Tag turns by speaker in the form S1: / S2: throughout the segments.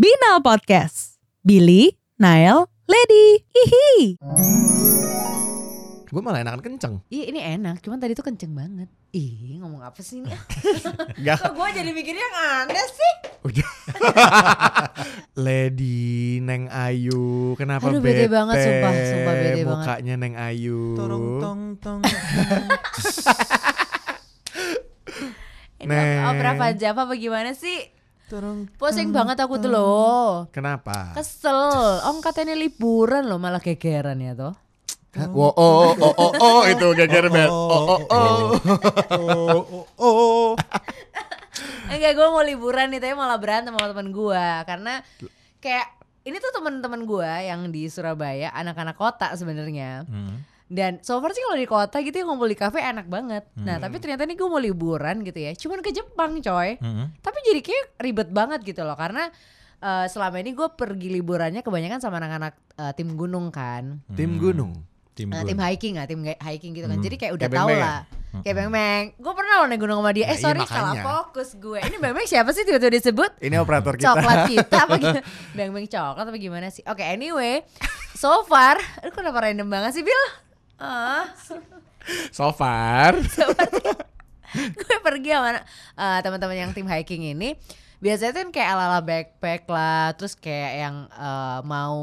S1: Nail Podcast. Billy, Nail, Lady. Hihi.
S2: Gue malah enakan kenceng.
S3: Iya ini enak, cuman tadi tuh kenceng banget. Ih ngomong apa sih ini?
S2: Gak.
S3: gue jadi mikirnya yang aneh sih.
S2: Lady Neng Ayu, kenapa
S3: Aduh, bete banget, sumpah, sumpah bete banget.
S2: Mukanya Neng Ayu.
S4: Torong tong tong.
S3: Ini
S2: Neng.
S3: opera Pajava apa gimana sih?
S4: Torong.
S3: Pusing banget aku tuh loh.
S2: Kenapa?
S3: Kesel. Om katanya liburan loh malah gegeran ya toh.
S2: Hah? Wo- Oh, oh, oh, oh, oh, itu geger bel. Oh, oh, oh.
S4: Oh oh oh.
S3: Enggak gue mau liburan nih tapi malah berantem sama teman gue karena kayak ini tuh teman-teman gue yang di Surabaya anak-anak kota sebenarnya.
S4: Hmm.
S3: Dan so far sih kalau di kota gitu yang ngumpul di kafe enak banget. Nah tapi ternyata nih gue mau liburan gitu ya. Cuman ke Jepang coy. Tapi jadi kayak ribet banget gitu loh karena eh, selama ini gue pergi liburannya kebanyakan sama anak-anak eh, tim gunung kan.
S2: Hmm. Tim gunung.
S4: Tim
S3: Eh,
S4: gue.
S3: tim hiking nggak tim nge- hiking gitu kan.
S4: Hmm.
S3: Jadi kayak udah
S2: Kayak
S3: tau
S2: Beng-Beng Hmm.
S3: lah. Kayak beng-beng. Gue pernah loh naik gunung sama dia.
S2: Nah,
S3: Eh
S2: iya,
S3: sorry
S2: makanya.
S3: salah fokus gue. Ini beng-beng siapa sih tiba-tiba disebut?
S2: Ini operator kita.
S3: Coklat kita apa gimana? Beng-beng coklat apa gimana sih? Oke anyway. So far. Aduh kenapa random banget sih Bill? Ah,
S2: So far.
S3: gue pergi sama eh, teman-teman yang tim hiking ini. Biasanya tuh kan kayak ala-ala backpack lah. Terus kayak yang eh, mau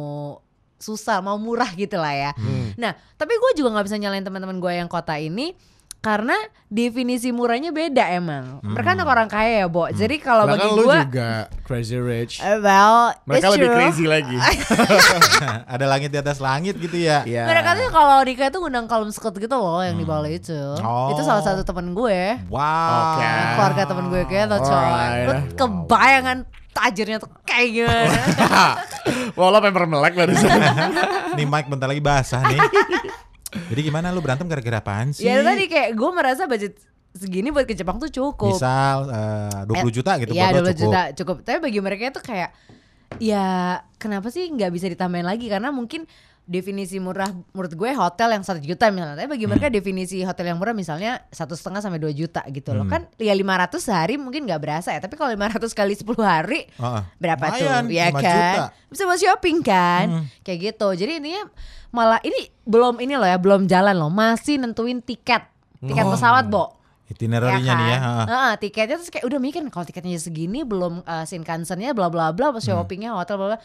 S3: susah, mau murah gitu lah ya.
S2: Hmm.
S3: Nah, tapi gue juga nggak bisa nyalain teman-teman gue yang kota ini karena definisi murahnya beda emang. Mereka anak orang kaya ya, Bo. Jadi kalau
S2: Lah kan
S3: bagi
S2: Hmm. lu
S3: gue,
S2: juga crazy rich.
S3: eh, well,
S2: Mereka
S3: it's
S2: lebih
S3: true.
S2: crazy lagi.
S4: Ada langit di atas langit gitu ya.
S2: Iya.
S3: Mereka tuh kalau nikah tuh ngundang kalem skut gitu loh yang
S2: Hmm.
S3: di Bali itu.
S4: Oh.
S3: Itu salah satu temen gue.
S2: Oke.
S4: Wow.
S3: Nah, keluarga temen gue gitu
S4: Oh,
S3: coy.
S4: iya.
S2: Alright.
S3: Lu kebayangan tajirnya tuh kayak gimana.
S2: Wah, lo pengen Iya. melek barusan.
S4: Nih Mike bentar lagi basah nih. Jadi gimana lu berantem gara-gara apaan sih?
S3: ya itu tadi kayak gue merasa budget segini buat ke Jepang tuh cukup.
S4: Misal eh, 20 juta gitu buat
S3: Iya
S4: lo
S3: 20
S4: cukup.
S3: juta cukup. Tapi bagi mereka tuh kayak ya kenapa sih nggak bisa ditambahin lagi karena mungkin definisi murah menurut gue hotel yang satu juta misalnya. Tapi
S4: Hmm.
S3: bagi mereka definisi hotel yang murah misalnya satu setengah sampai 2 juta gitu
S4: Hmm.
S3: loh. Kan ya 500 sehari mungkin nggak berasa ya. Tapi kalau 500 kali 10 hari
S4: Heeh.
S3: berapa
S4: Lumayan,
S3: tuh ya
S4: 5
S3: kan
S4: juta. Hmm.
S3: bisa buat shopping kan kayak gitu jadi intinya malah ini belum ini loh ya belum jalan loh masih nentuin tiket tiket pesawat bo kan?
S4: Itinerary-nya Oh. nih ya. heeh.
S3: Heeh, tiketnya terus kayak udah mikir kalau tiketnya segini belum eh, Shinkansen-nya bla bla bla pas
S4: Hmm.
S3: shoppingnya hotel bla bla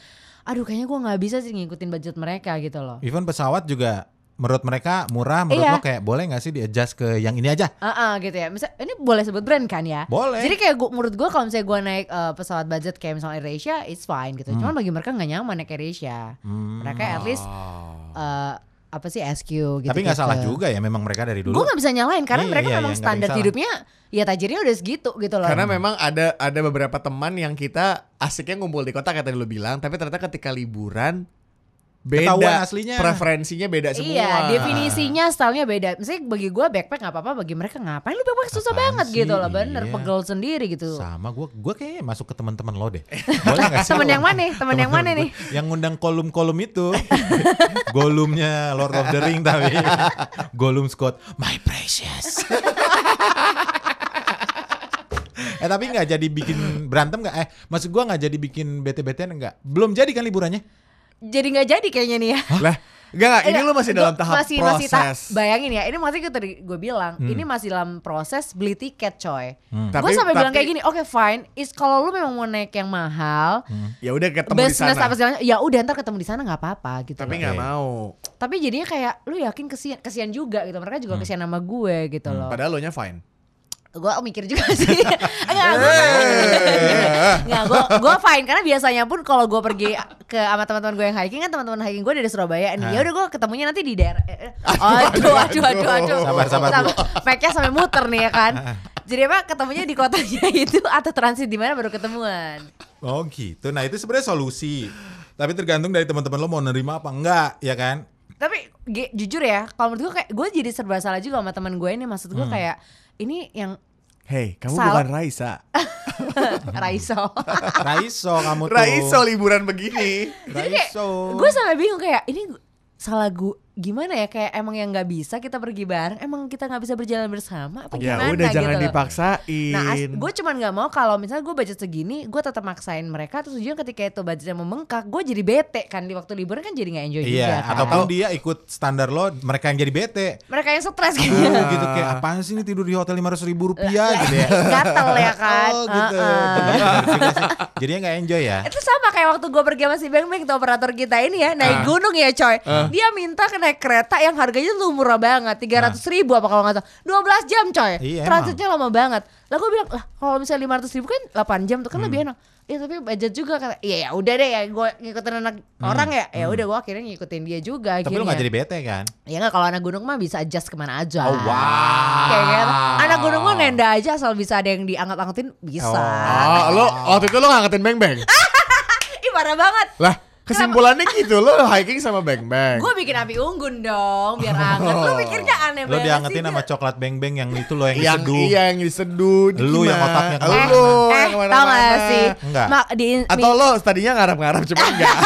S3: aduh kayaknya gua nggak bisa sih ngikutin budget mereka gitu loh
S4: Even pesawat juga menurut mereka murah, menurut
S3: Iya.
S4: lo kayak boleh nggak sih di adjust ke yang ini aja?
S3: Heeh gitu ya. Misal ini boleh sebut brand kan ya?
S4: Boleh.
S3: Jadi kayak gua, menurut gua kalau misalnya gua naik eh, pesawat budget kayak misalnya AirAsia it's fine gitu.
S4: Hmm.
S3: Cuman bagi mereka nggak nyaman naik AirAsia. Mereka at least
S2: Oh.
S3: eh, apa sih SQ gitu.
S4: Tapi nggak salah juga ya, memang mereka dari dulu.
S3: Gue gak bisa nyalain karena
S4: Iya,
S3: mereka
S4: iya, iya,
S3: memang
S4: nggak ada yang
S3: standar
S4: salah.
S3: hidupnya ya tajirnya udah segitu gitu loh.
S2: Karena memang ada ada beberapa teman yang kita asiknya ngumpul di kota kata lu bilang, tapi ternyata ketika liburan beda
S4: Ketahuan aslinya.
S2: preferensinya beda semua.
S3: Iya, definisinya stylenya beda. Misalnya bagi gua backpack nggak apa-apa, bagi mereka ngapain lu backpack susah
S4: Apaan
S3: banget
S4: sih?
S3: gitu loh, bener
S4: Iya.
S3: pegel sendiri gitu. Eh,
S4: sama gue, gue kayaknya masuk ke teman-teman lo deh. Boleh nggak sih?
S3: Temen
S4: lo?
S3: yang mana? Temen yang mana nih?
S4: gue Yang ngundang kolum-kolum itu. Golumnya Lord of the Ring tapi. Golum Scott, my precious. eh tapi nggak jadi bikin berantem nggak? Eh maksud gue nggak jadi bikin bete-betean nggak? Belum jadi kan liburannya?
S3: Jadi nggak jadi kayaknya nih ya.
S2: Lah, enggak
S4: Nah,
S2: enggak, ini
S3: Enggak,
S2: lu masih
S3: gua-
S2: dalam tahap
S3: masih,
S2: proses.
S3: Masih tahap, bayangin ya, ini masih gitu gue bilang,
S4: Hmm.
S3: ini masih dalam proses beli tiket coy. Gue
S2: Tapi-
S3: sampai bilang
S2: tapi-
S3: kayak gini, oke fine, is kalau lu memang mau naik yang mahal,
S4: Hmm.
S2: ya udah ketemu di
S3: business
S2: sana.
S3: apa segala, ya udah ntar ketemu di sana nggak apa-apa gitu.
S2: Tapi
S3: loh.
S2: nggak
S4: Oke.
S2: mau.
S3: Tapi jadinya kayak lu yakin kesian, kesian juga gitu. Mereka
S2: Hmm.
S3: juga kesian sama gue gitu loh.
S2: Padahal lo nya fine.
S3: gue mikir juga sih enggak gue enggak gue gue fine karena biasanya pun kalau gue pergi ke sama teman-teman gue yang hiking kan teman-teman hiking gue dari Surabaya nih ya udah gue ketemunya nanti di daerah eh, eh. aduh aduh aduh aduh
S4: Sabar, sabar, Bu.
S3: Mic-nya sampai muter nih ya kan jadi apa ketemunya di kotanya itu atau transit di mana baru ketemuan
S4: Oh gitu. Nah itu sebenarnya solusi. Tapi tergantung dari teman-teman lo mau nerima apa enggak, ya kan?
S3: tapi ge- jujur ya kalau menurut gue kayak gue jadi serba salah juga sama teman gue ini maksud
S4: Hmm.
S3: gue kayak ini yang
S2: Hey, kamu
S3: Sal-
S2: bukan Raisa.
S4: Oh.
S3: Raiso
S4: Raiso kamu tuh.
S2: Raiso liburan begini.
S3: Jadi kayak
S4: Raiso.
S3: gue sampai bingung kayak ini gu- salah gue gimana ya kayak emang yang nggak bisa kita pergi bareng emang kita nggak bisa berjalan bersama apa
S2: Ya
S3: gimana
S2: udah jangan
S3: gitu loh.
S2: dipaksain. Oh,
S3: Nah, gue cuman nggak mau kalau misalnya gue budget segini, gue tetap maksain mereka. Terus juga ketika itu budgetnya membengkak, gue jadi bete kan di waktu liburan kan jadi nggak enjoy juga.
S4: Iya,
S3: kan.
S4: ataupun dia ikut standar lo, mereka yang jadi bete.
S3: mereka yang stres
S4: Aduh,
S3: kayaknya.
S4: gitu kayak apaan sih ini tidur di hotel lima ratus ribu rupiah gitu ya?
S3: Gatel ya kan.
S4: Oh gitu.
S3: iya. Heeh.
S4: Benar juga sih. Jadinya nggak enjoy ya?
S3: Itu sama kayak waktu gue pergi sama si Beng Beng tuh operator kita ini
S4: Ah.
S3: ya naik gunung ya coy. Dia minta ke naik kereta yang harganya tuh murah banget, tiga ratus ribu apa kalau nggak salah, 12 jam coy.
S4: Iya,
S3: Transitnya lama banget. Lah gue bilang lah kalau misalnya lima ratus ribu kan 8 jam tuh kan
S4: Hmm.
S3: lebih enak. Ya tapi budget juga kata, iya ya udah deh ya gue ngikutin anak orang ya, ya udah gue akhirnya ngikutin dia juga.
S4: Hmm. Tapi lo nggak jadi bete kan?
S3: Ya nggak kalau anak gunung mah bisa adjust kemana aja.
S4: Oh, wow.
S3: Kayak gitu. Anak gunung mah nenda aja asal bisa ada yang diangkat-angkatin bisa.
S2: Oh, lo waktu itu lo ngangkatin Beng Beng.
S3: Ih parah banget.
S2: lah, kesimpulannya gitu lo hiking sama Beng Beng.
S3: Gue bikin api unggun dong biar anget. Lu pikirnya aneh
S4: Lo
S3: banget
S4: diangetin
S3: sih, Eh,
S4: sama
S3: Bil.
S4: coklat beng beng yang itu lo yang,
S2: yang
S4: diseduh.
S2: iya yang diseduh di
S4: Lu yang
S2: gimana?
S4: otaknya kemana-mana.
S2: Lu
S3: Eh,
S2: yang
S3: tau
S2: kemana-mana.
S3: gak sih?
S4: Enggak.
S3: Mak, di, mi-
S2: Atau lo tadinya ngarap-ngarap cuma enggak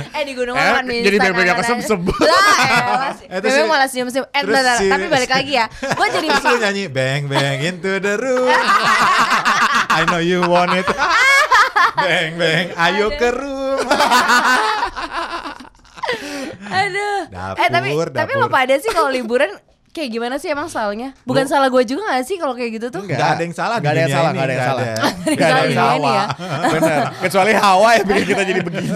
S3: eh di gunung
S2: Eh,
S3: makan mie
S2: jadi
S3: instan
S2: bebek apa
S3: aja.
S2: semsem?
S3: Lah, elah sih.
S4: Eh, terus
S3: Bebek
S4: si-
S3: malah senyum-senyum. Eh,
S4: terus
S3: bentar, bentar.
S4: si- Iya.
S3: tapi balik lagi ya. Gue jadi
S4: Terus lo nyanyi beng beng into the room. I know you want it. beng beng, ayo
S3: Ada.
S4: ke room.
S3: Aduh.
S4: Dapur,
S3: eh tapi tapi lo
S4: dapur.
S3: pada sih kalau liburan kayak gimana sih emang salahnya? Bukan salah gue juga gak sih kalau kayak gitu tuh?
S4: Enggak ada yang salah di
S2: Enggak ada yang
S4: dunia
S2: salah,
S4: ini,
S2: enggak ada yang
S4: enggak
S2: salah.
S4: ada.
S2: Enggak ada yang
S3: Kecuali dia ini
S2: salah.
S3: ya.
S2: Benar. Kecuali Hawa yang bikin kita jadi begini.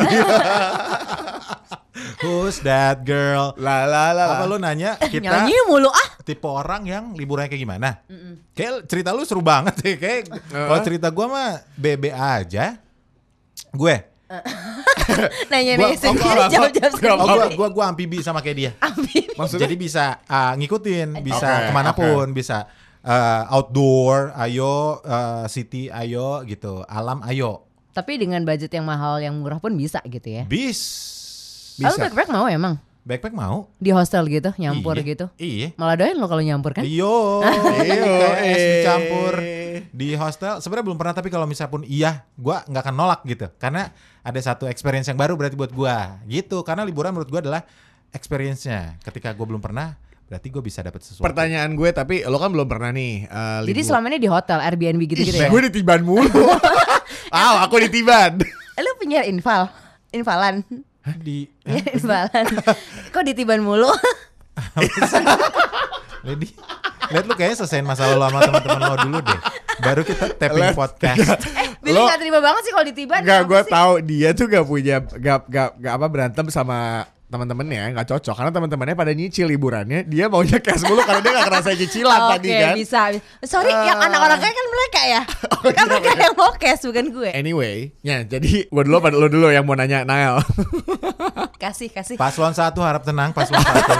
S4: Who's that girl?
S2: La la la.
S4: Apa lo nanya kita
S3: Nyanyi mulu ah.
S4: tipe orang yang liburannya kayak gimana? Kayak cerita lu seru banget sih. Kayak kalau cerita gua mah bebe aja. Gue.
S3: Nanya
S2: Gua-
S3: nih sendiri
S2: gua- gua-
S3: jawab-jawab
S2: gua-
S3: sendiri.
S4: Oh, gua gua gua amfibi sama kayak dia.
S3: Ah,
S2: Maksudnya
S4: Jadi bisa uh, ngikutin, bisa
S2: Oke,
S4: kemanapun, bisa uh, outdoor, ayo uh, city, ayo gitu, alam, ayo,
S3: Tapi dengan budget yang mahal yang murah pun bisa gitu ya.
S4: bis,
S3: Lalu
S4: bisa.
S3: Oh, backpack mau emang
S4: Backpack mau?
S3: di hostel gitu nyampur
S4: Iya.
S3: gitu.
S4: Iya.
S3: Malah doain lo kalau nyampur
S2: Iya,
S3: kan?
S4: Iyo,
S2: Iyo,
S4: ITS
S2: eh.
S4: dicampur di hostel. Sebenarnya belum pernah tapi kalau misal pun iya, gua nggak akan nolak gitu. Karena ada satu experience yang baru berarti buat gua gitu. Karena liburan menurut gua adalah experience-nya. Ketika gua belum pernah, berarti gua bisa dapat sesuatu.
S2: pertanyaan gue tapi lo kan belum pernah nih eh,
S3: Jadi
S2: libur.
S3: selama ini di hotel Airbnb gitu-gitu ya.
S2: Gue ditiban mulu. Aw, aku ditiban.
S3: Eh, Lu punya infal, infalan.
S4: Hah, di
S3: Iya, infalan. Kok ditiban mulu?
S4: Lady, lihat lu kayaknya selesaiin masalah lo sama teman-teman lo dulu deh. Baru kita tapping podcast.
S3: Billy
S2: Lo-
S3: gak terima banget sih kalau ditiban.
S2: Enggak,
S3: kenapa
S2: gue
S3: sih?
S2: tahu dia tuh gak punya gak gak gak apa berantem sama teman-temannya nggak cocok karena teman-temannya pada nyicil liburannya dia maunya cash mulu karena dia gak ngerasain cicilan tadi
S3: Oke,
S2: kan Oh,
S3: bisa. Sorry, yang anak orang kaya kan mereka ya.
S2: iya,
S3: kan mereka yang mau cash bukan gue.
S2: anyway ya jadi gue dulu pada lo dulu yang mau nanya Nael Eh.
S3: Kasih, kasih.
S4: Paslon satu harap tenang, paslon satu,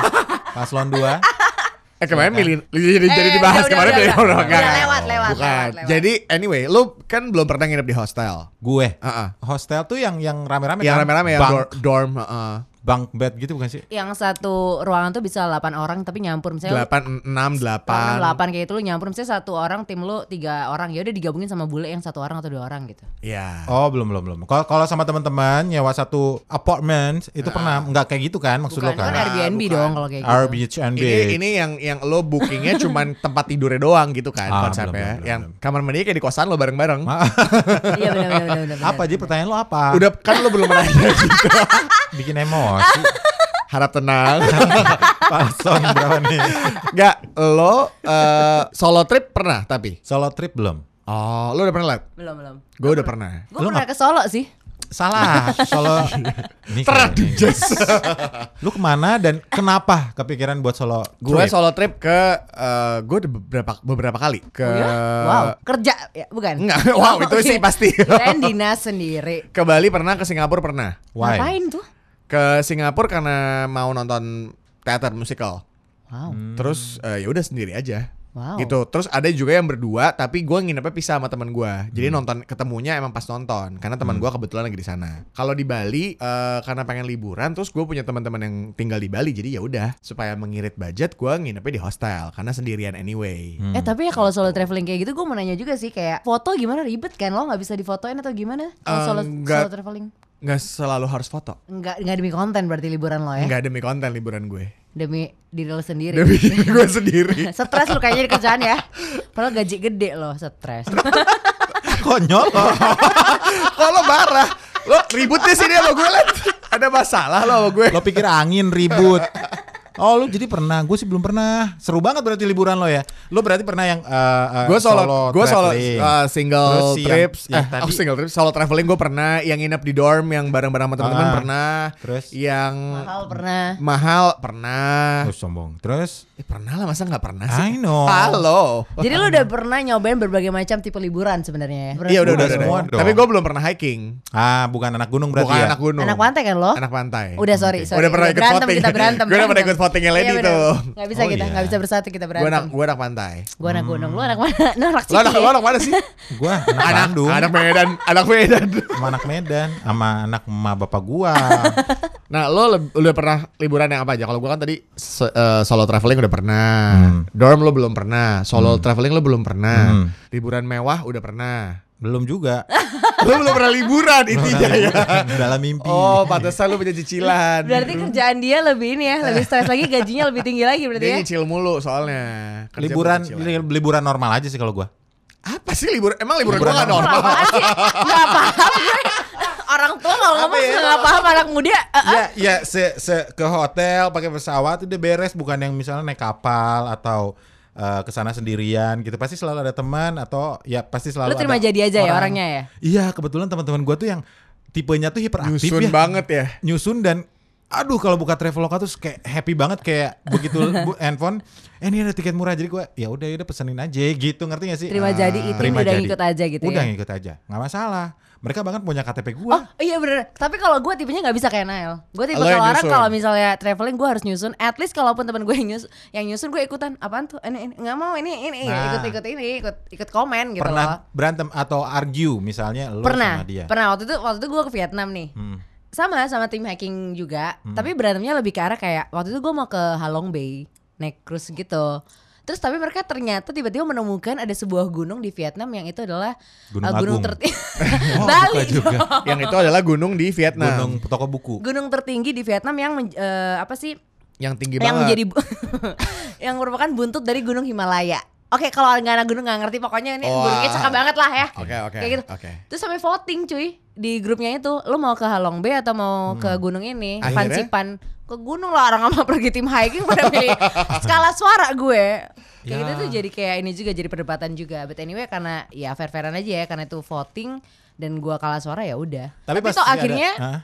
S4: paslon dua.
S2: eh kemarin milih jadi, jadi
S3: Eh,
S2: dibahas
S3: udah,
S2: kemarin
S3: udah,
S2: milih
S3: udah.
S2: orang
S3: Udah
S2: kaya.
S3: lewat, lewat,
S2: bukan
S3: lewat, lewat.
S2: jadi anyway lo kan belum pernah nginep di hostel
S4: Gue
S2: Heeh.
S4: hostel tuh yang yang rame-rame
S2: yang
S4: kan?
S2: rame-rame ya
S4: Bunk-
S2: dor- dorm heeh.
S4: bunk bed gitu bukan sih?
S3: Yang satu ruangan tuh bisa 8 orang tapi nyampur misalnya lu-
S2: delapan enam delapan
S3: delapan kayak itu lu nyampur misalnya satu orang tim lu tiga orang ya udah digabungin sama bule yang satu orang atau dua orang gitu.
S2: ya
S4: Oh belum belum belum. Kalau kalau sama teman-teman nyewa satu apartment itu pernah nggak kayak gitu kan maksud
S3: Ah.
S4: lo
S3: Bukan,
S4: kan?
S3: kan Airbnb
S2: Bukan.
S3: dong kalau kayak gitu.
S4: Airbnb.
S2: Ini, ini yang yang lo bookingnya cuman tempat tidurnya doang gitu kan
S4: Ah, belum,
S2: konsepnya.
S4: belum, belum,
S2: yang kamar mandi kayak di kosan lo bareng-bareng.
S3: Iya benar benar benar, benar.
S4: Apa aja pertanyaan lo apa?
S2: Udah kan lo belum nanya juga.
S4: bikin emosi.
S2: Harap tenang.
S4: paslon berapa nih?
S2: Enggak, lo eh, solo trip pernah tapi.
S4: Solo trip belum?
S2: Oh, lo udah pernah lihat?
S3: Belum belum.
S2: Gue udah pernah.
S3: Gue
S4: Lu
S3: pernah ke Solo sih.
S4: Salah. Solo. Ini
S2: Terang
S4: kayaknya.
S2: Jess.
S4: Lu kemana dan kenapa kepikiran buat solo?
S2: Gue
S4: trip?
S2: solo trip ke eh, gue udah beberapa beberapa kali ke
S3: Oh ya? wow, kerja ya, bukan? iya.
S2: Enggak, wow, itu sih pasti.
S3: Kirain dinas sendiri.
S2: ke Bali pernah, ke Singapura pernah.
S4: Why?
S3: Ngapain tuh?
S2: Ke Singapura karena mau nonton teater musical.
S3: Wow.
S2: Terus eh, ya udah sendiri aja.
S3: Wow.
S2: Gitu. Terus ada juga yang berdua, tapi gue nginepnya pisah sama teman gue. Jadi nonton ketemunya emang pas nonton, karena teman gua gue kebetulan lagi di sana. Kalau di Bali, eh, karena pengen liburan, terus gue punya teman-teman yang tinggal di Bali, jadi ya udah supaya mengirit budget, gue nginepnya di hostel karena sendirian anyway.
S4: Hmm.
S3: Eh tapi ya kalau solo traveling kayak gitu gue mau nanya juga sih kayak foto gimana ribet kan lo nggak bisa difotoin atau gimana kalau solo,
S2: Enggak.
S3: solo traveling?
S2: Eh, nggak selalu harus foto.
S3: Enggak enggak demi konten berarti liburan lo ya.
S2: Nggak demi konten liburan gue.
S3: Demi diri lo sendiri.
S2: Demi diri gue sendiri.
S3: stres lu kayaknya di kerjaan ya. Padahal gaji gede loh stres.
S4: Konyol.
S2: Kok lo marah? Lo ribut di sini sama gue, Len. Ada masalah lo sama gue.
S4: lo pikir angin ribut. Oh lu jadi pernah, gue sih belum pernah. Seru banget berarti liburan lo ya. Lo berarti pernah yang eh, eh,
S2: Gue solo, gue solo
S4: traveling.
S2: uh,
S4: Terus
S2: single
S4: si yang-
S2: trips,
S4: yang
S2: eh,
S4: tadi.
S2: oh, single trips, solo traveling gue pernah, yang nginep di dorm, yang bareng-bareng sama teman-teman
S4: Ah.
S2: pernah,
S4: Terus?
S2: yang
S3: Mahal pernah.
S2: mahal pernah,
S4: Oh, sombong. Terus
S2: Eh, pernah lah masa nggak pernah sih?
S4: I know.
S2: Halo.
S3: Jadi lu udah pernah nyobain berbagai macam tipe liburan
S2: Iya
S3: sebenarnya ya.
S2: udah udah,
S4: Udah
S2: udah.
S4: semua dong.
S2: Tapi gue belum pernah hiking.
S4: Ah, bukan anak gunung berarti
S2: Bukan
S4: ya.
S2: anak gunung.
S3: Anak pantai kan lo?
S2: Anak pantai.
S3: Udah sorry, sorry.
S2: Udah pernah ikut
S3: berantem
S2: voting.
S3: kita berantem.
S2: Gue udah pernah
S3: berantem.
S2: ikut votingnya
S3: Iya,
S2: Lady
S3: bener.
S2: tuh.
S3: Nggak bisa
S4: Oh,
S3: kita,
S4: iya.
S3: nggak bisa bersatu kita
S2: Gue anak
S3: berantem.
S2: gue anak pantai.
S3: Gue anak gunung, lu anak mana? Lu
S2: Hmm. Lo anak
S3: anak Ciki
S2: lo
S3: ya?
S2: anak mana sih?
S4: Gua anak
S2: anak
S4: Bandung,
S2: anak Medan, anak Medan.
S4: sama anak Medan, sama anak emak bapak gua.
S2: Nah, lo leb- udah pernah liburan yang apa aja? Kalau gue kan tadi se- eh, solo traveling udah pernah, dorm lo belum pernah, solo traveling lo belum pernah,
S4: Hmm.
S2: liburan mewah udah pernah.
S4: Belum juga.
S2: lo belum pernah liburan intinya ya.
S4: Dalam mimpi.
S2: Oh, pantesan lo punya cicilan.
S3: Berarti kerjaan dia lebih ini ya, lebih stres lagi, gajinya lebih tinggi lagi berarti
S2: Dia
S3: ya.
S2: nyicil mulu soalnya. Kerja
S4: liburan
S2: buat cicilan.
S4: li- liburan normal aja sih kalau gua.
S2: apa sih liburan? Emang liburan,
S4: Liburan
S2: gua gak
S4: apa?
S2: normal?
S3: Apaan sih? Nggak paham gue. Orang tua kalau ngomong
S2: ya?
S3: juga nggak paham anak muda. eh, eh.
S4: Ya, ya se, se- ke hotel pakai pesawat udah beres bukan yang misalnya naik kapal atau eh, ke kesana sendirian gitu. Pasti selalu ada teman atau ya pasti selalu
S3: Lu terima
S4: ada
S3: jadi aja ya
S4: orang.
S3: orangnya ya.
S2: Ah,
S4: Iya, kebetulan teman-teman gua tuh yang tipenya tuh hiperaktif
S2: Nyusun
S4: ya.
S2: banget ya.
S4: nyusun dan aduh kalau buka traveloka tuh kayak happy banget kayak begitu bu, handphone eh ini ada tiket murah jadi gue ya udah ya udah pesenin aja gitu ngerti gak sih
S3: Terima
S4: Ah,
S3: jadi itu
S4: terima
S3: udah
S4: jadi.
S3: ngikut aja gitu
S4: udah
S3: ya.
S4: ngikut aja nggak masalah mereka bahkan punya KTP gue
S3: Oh iya bener Tapi kalau gue tipenya nggak bisa kayak Nael Gue tipe
S2: Lo yang
S3: kalau orang
S2: nyusun.
S3: kalau misalnya traveling gue harus nyusun At least kalaupun temen gue yang nyusun Yang nyusun gue ikutan Apaan tuh ini, ini. Nggak mau ini ini
S4: Nah.
S3: Ikut-ikut ini ikut, ikut komen gitu
S4: pernah
S3: loh
S4: berantem atau argue misalnya lo
S3: Pernah
S4: sama dia
S3: Pernah waktu itu waktu itu gue ke Vietnam nih
S4: Hmm.
S3: Sama sama tim hiking juga Tapi berantemnya lebih ke arah kayak Waktu itu gue mau ke Halong Bay Naik cruise gitu Terus tapi mereka ternyata tiba-tiba menemukan ada sebuah gunung di Vietnam yang itu adalah
S4: Gunung
S3: eh, gunung
S4: Agung.
S3: tertinggi
S4: Oh,
S3: Bali Nah.
S4: bukan juga.
S3: dong.
S2: Yang itu adalah gunung di Vietnam.
S4: gunung toko buku
S3: gunung tertinggi di Vietnam yang men- eh, apa sih
S2: Yang tinggi
S3: yang
S2: banget.
S3: menjadi bu- yang merupakan buntut dari gunung Himalaya. Oke, kalau nggak anak gunung nggak ngerti pokoknya ini
S2: Wah.
S3: gunungnya cakep banget lah ya.
S2: Oke, oke.
S3: Kayak gitu.
S2: Oke.
S3: Terus sampai voting cuy di grupnya itu, lo mau ke Halong Bay atau mau ke gunung ini?
S2: Hmm. Akhirnya?
S3: Pancipan ke gunung lah orang sama pergi tim hiking pada milih skala suara gue. Kayak
S4: Ya.
S3: gitu tuh jadi kayak ini juga jadi perdebatan juga. But anyway karena ya fair-fairan aja ya karena itu voting dan gua kalah suara ya udah. Tapi,
S4: pasti
S3: toh
S4: ada-
S3: akhirnya
S4: Hah?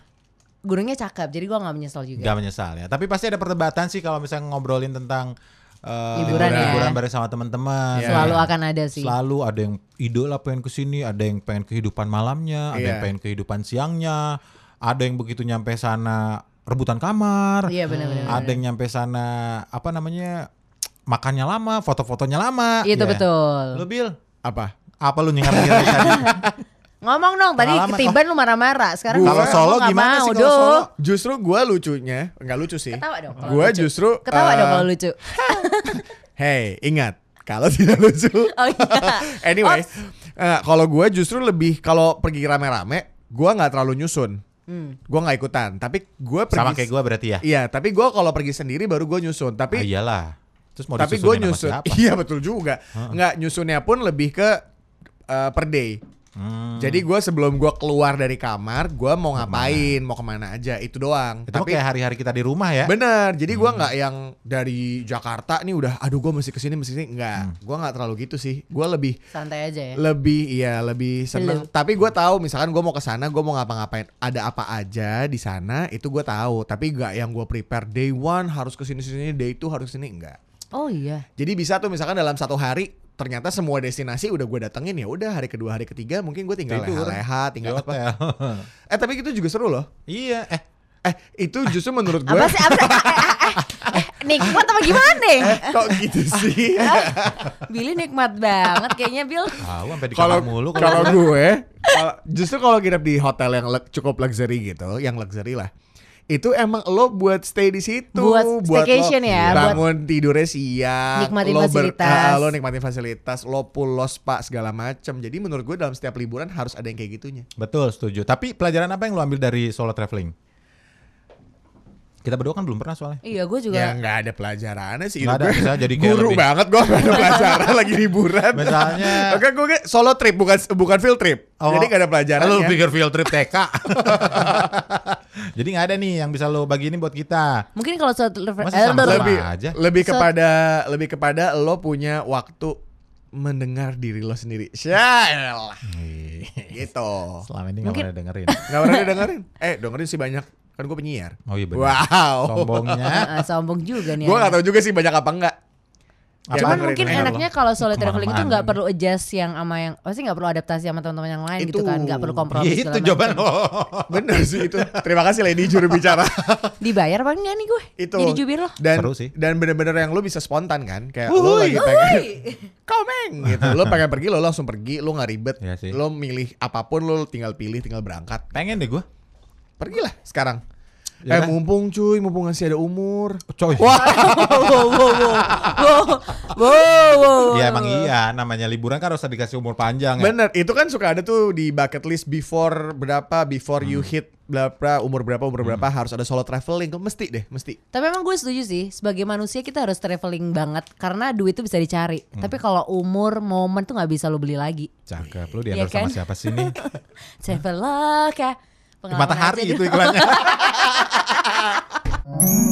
S3: gunungnya cakep jadi gua nggak menyesal juga.
S4: Gak menyesal ya. Tapi pasti ada perdebatan sih kalau misalnya ngobrolin tentang eh,
S3: Liburan ya.
S4: bareng sama teman-teman.
S2: Iya.
S3: Selalu akan ada sih.
S4: Selalu ada yang idola pengen kesini, ada yang pengen kehidupan malamnya, ada
S2: Iya.
S4: yang pengen kehidupan siangnya, ada yang begitu nyampe sana rebutan kamar,
S3: Iya benar-benar.
S4: ada yang nyampe sana apa namanya makannya lama, foto-fotonya lama.
S3: Itu
S4: Iya.
S3: betul.
S4: Lu Bil,
S2: Apa?
S4: apa lu nyingat nyingat tadi?
S3: Ngomong dong tadi
S4: Pengalaman.
S3: ketiban lu marah-marah. Sekarang
S4: Kalau
S3: ngomong
S4: solo
S3: nggak
S4: gimana sih
S3: mau,
S4: kalau
S3: Duh.
S4: solo?
S2: Justru gue lucunya, nggak lucu sih.
S3: Ketawa dong kalau
S2: Gue
S3: lucu.
S2: justru
S3: Ketawa
S2: eh,
S3: dong kalau lucu.
S2: Hey, ingat kalau tidak lucu.
S3: Oh iya. Oh.
S2: anyway, eh, kalau gue justru lebih kalau pergi rame-rame, gue nggak terlalu nyusun.
S3: Hmm.
S2: Gue nggak ikutan. Tapi gue pergi.
S4: Sama kayak gua berarti ya.
S2: Iya, tapi gue kalau pergi sendiri baru gue nyusun.
S4: Ah,
S2: Tapi
S4: iyalah. Terus mau
S2: tapi gue
S4: disusunin sama
S2: nyusun.
S4: siapa?
S2: Iya betul juga. Nggak nyusunnya pun lebih ke eh, per day.
S4: Hmm.
S2: Jadi gue sebelum gue keluar dari kamar, gue mau ngapain, mau kemana aja itu doang.
S4: Itu mah
S2: tapi
S4: kayak hari-hari kita di rumah ya.
S2: Bener, jadi gua nggak yang dari Jakarta nih udah, aduh gua mesti kesini mesti kesini nggak, gua nggak terlalu gitu sih, gua lebih
S3: Santai aja ya.
S2: lebih iya lebih seneng. Tapi gua tahu misalkan gua mau ke sana, gua mau ngapa-ngapain, ada apa aja di sana itu gua tahu. Tapi nggak yang gua prepare day one harus kesini sini, day two harus kesini enggak.
S3: Oh iya.
S2: Jadi bisa tuh misalkan dalam satu hari ternyata semua destinasi udah gua datengin ya udah hari kedua hari ketiga mungkin gua tinggal
S4: Tidur. Iya,
S2: leha-leha
S4: Di
S2: tinggal apa
S4: hotel.
S2: eh tapi itu juga seru loh
S4: iya, eh
S2: eh itu justru menurut
S3: Apa
S2: gua
S3: sih? Apa sih? Eh, eh, eh, eh, nikmat apa gimana? nih?
S4: Eh.
S2: kok gitu sih
S3: Billy nikmat banget kayaknya Bill.
S4: Tahu sampai di
S2: kalau
S4: kamar mulu
S2: kalau gue kalau- justru kalau nginep di hotel yang le- cukup luxury gitu yang luxury lah itu emang lo buat stay di situ
S3: Buat staycation
S2: lo
S3: ya, buat-
S2: bangun tidurnya siang
S3: Nikmatin
S2: lo
S3: fasilitas.
S2: ah, lo nikmatin fasilitas lo pull lo spa segala macam jadi menurut gue dalam setiap liburan harus ada yang kayak gitunya
S4: Betul, setuju. Tapi pelajaran apa yang lo ambil dari solo traveling? Kita berdua kan belum pernah soalnya.
S3: Iya gue juga.
S2: ya nggak ada pelajarannya sih hidup
S4: Nggak ada,
S2: gue.
S4: bisa jadi kayak
S2: guru
S4: lebih-
S2: banget gue nggak ada pelajaran lagi liburan
S4: Misalnya
S2: Oke, gue kayak solo trip bukan bukan field trip.
S4: Oh.
S2: Jadi gak ada pelajaran ya?
S4: Lo pikir field trip TK. Jadi nggak ada nih yang bisa lo bagi ini buat kita.
S3: Mungkin kalau suatu
S4: Masih sama
S3: Eh,
S2: lebih
S4: aja.
S2: lebih
S3: So-
S2: kepada lebih kepada lo punya waktu mendengar diri lo sendiri. Syaelah. gitu.
S4: Selama ini nggak
S3: Mungkin-
S4: pernah dengerin.
S2: Gak pernah dengerin. Eh, dengerin sih banyak. Kan gue penyiar.
S4: Oh iya benar.
S2: Wow.
S4: Sombongnya.
S3: Ah, sombong juga nih.
S2: Gue
S3: anak.
S2: gak tahu juga sih banyak apa enggak.
S4: Apa
S3: Cuman
S2: dengerin
S3: mungkin
S2: aja.
S3: enaknya kalau solo
S4: Kemana-mana.
S3: traveling itu nggak perlu adjust yang sama yang pasti nggak perlu adaptasi sama teman-teman yang lain gitu
S2: Itu.
S3: kan, nggak perlu kompromi.
S4: Iya itu
S3: segala
S4: jawaban
S3: macam.
S4: lo.
S2: Bener sih itu. Terima kasih Lady juru bicara.
S3: Dibayar apa enggak nih gue?
S2: itu.
S3: Jadi jubir lo.
S2: Dan
S4: Seru sih.
S2: dan bener-bener yang lo bisa spontan kan. Kayak lo lagi pengen komeng gitu. Lo pengen pergi lo langsung pergi, lo nggak ribet.
S4: Iya sih.
S2: Lo milih apapun lo tinggal pilih, tinggal berangkat.
S4: Pengen deh gue.
S2: Pergilah sekarang.
S4: Ya
S2: eh
S4: kan?
S2: mumpung cuy, mumpung masih ada umur.
S4: Coy.
S3: wow, wow, wow, wow, wow, wow.
S4: Iya emang iya. Namanya liburan kan harus dikasih umur panjang ya.
S2: Bener, itu kan suka ada tuh di bucket list before berapa, before you hit berapa, umur berapa, umur berapa harus ada solo traveling. Mesti deh, mesti.
S3: Tapi emang gue setuju sih, sebagai manusia kita harus traveling banget karena duit itu bisa dicari. Tapi kalau umur, momen tuh nggak bisa lo beli lagi.
S4: Cakep. Lo diantar
S3: Iya kan?
S4: sama siapa sih nih?
S3: Traveloka. Pengalaman aja
S4: Matahari
S3: dulu.
S4: itu iklannya.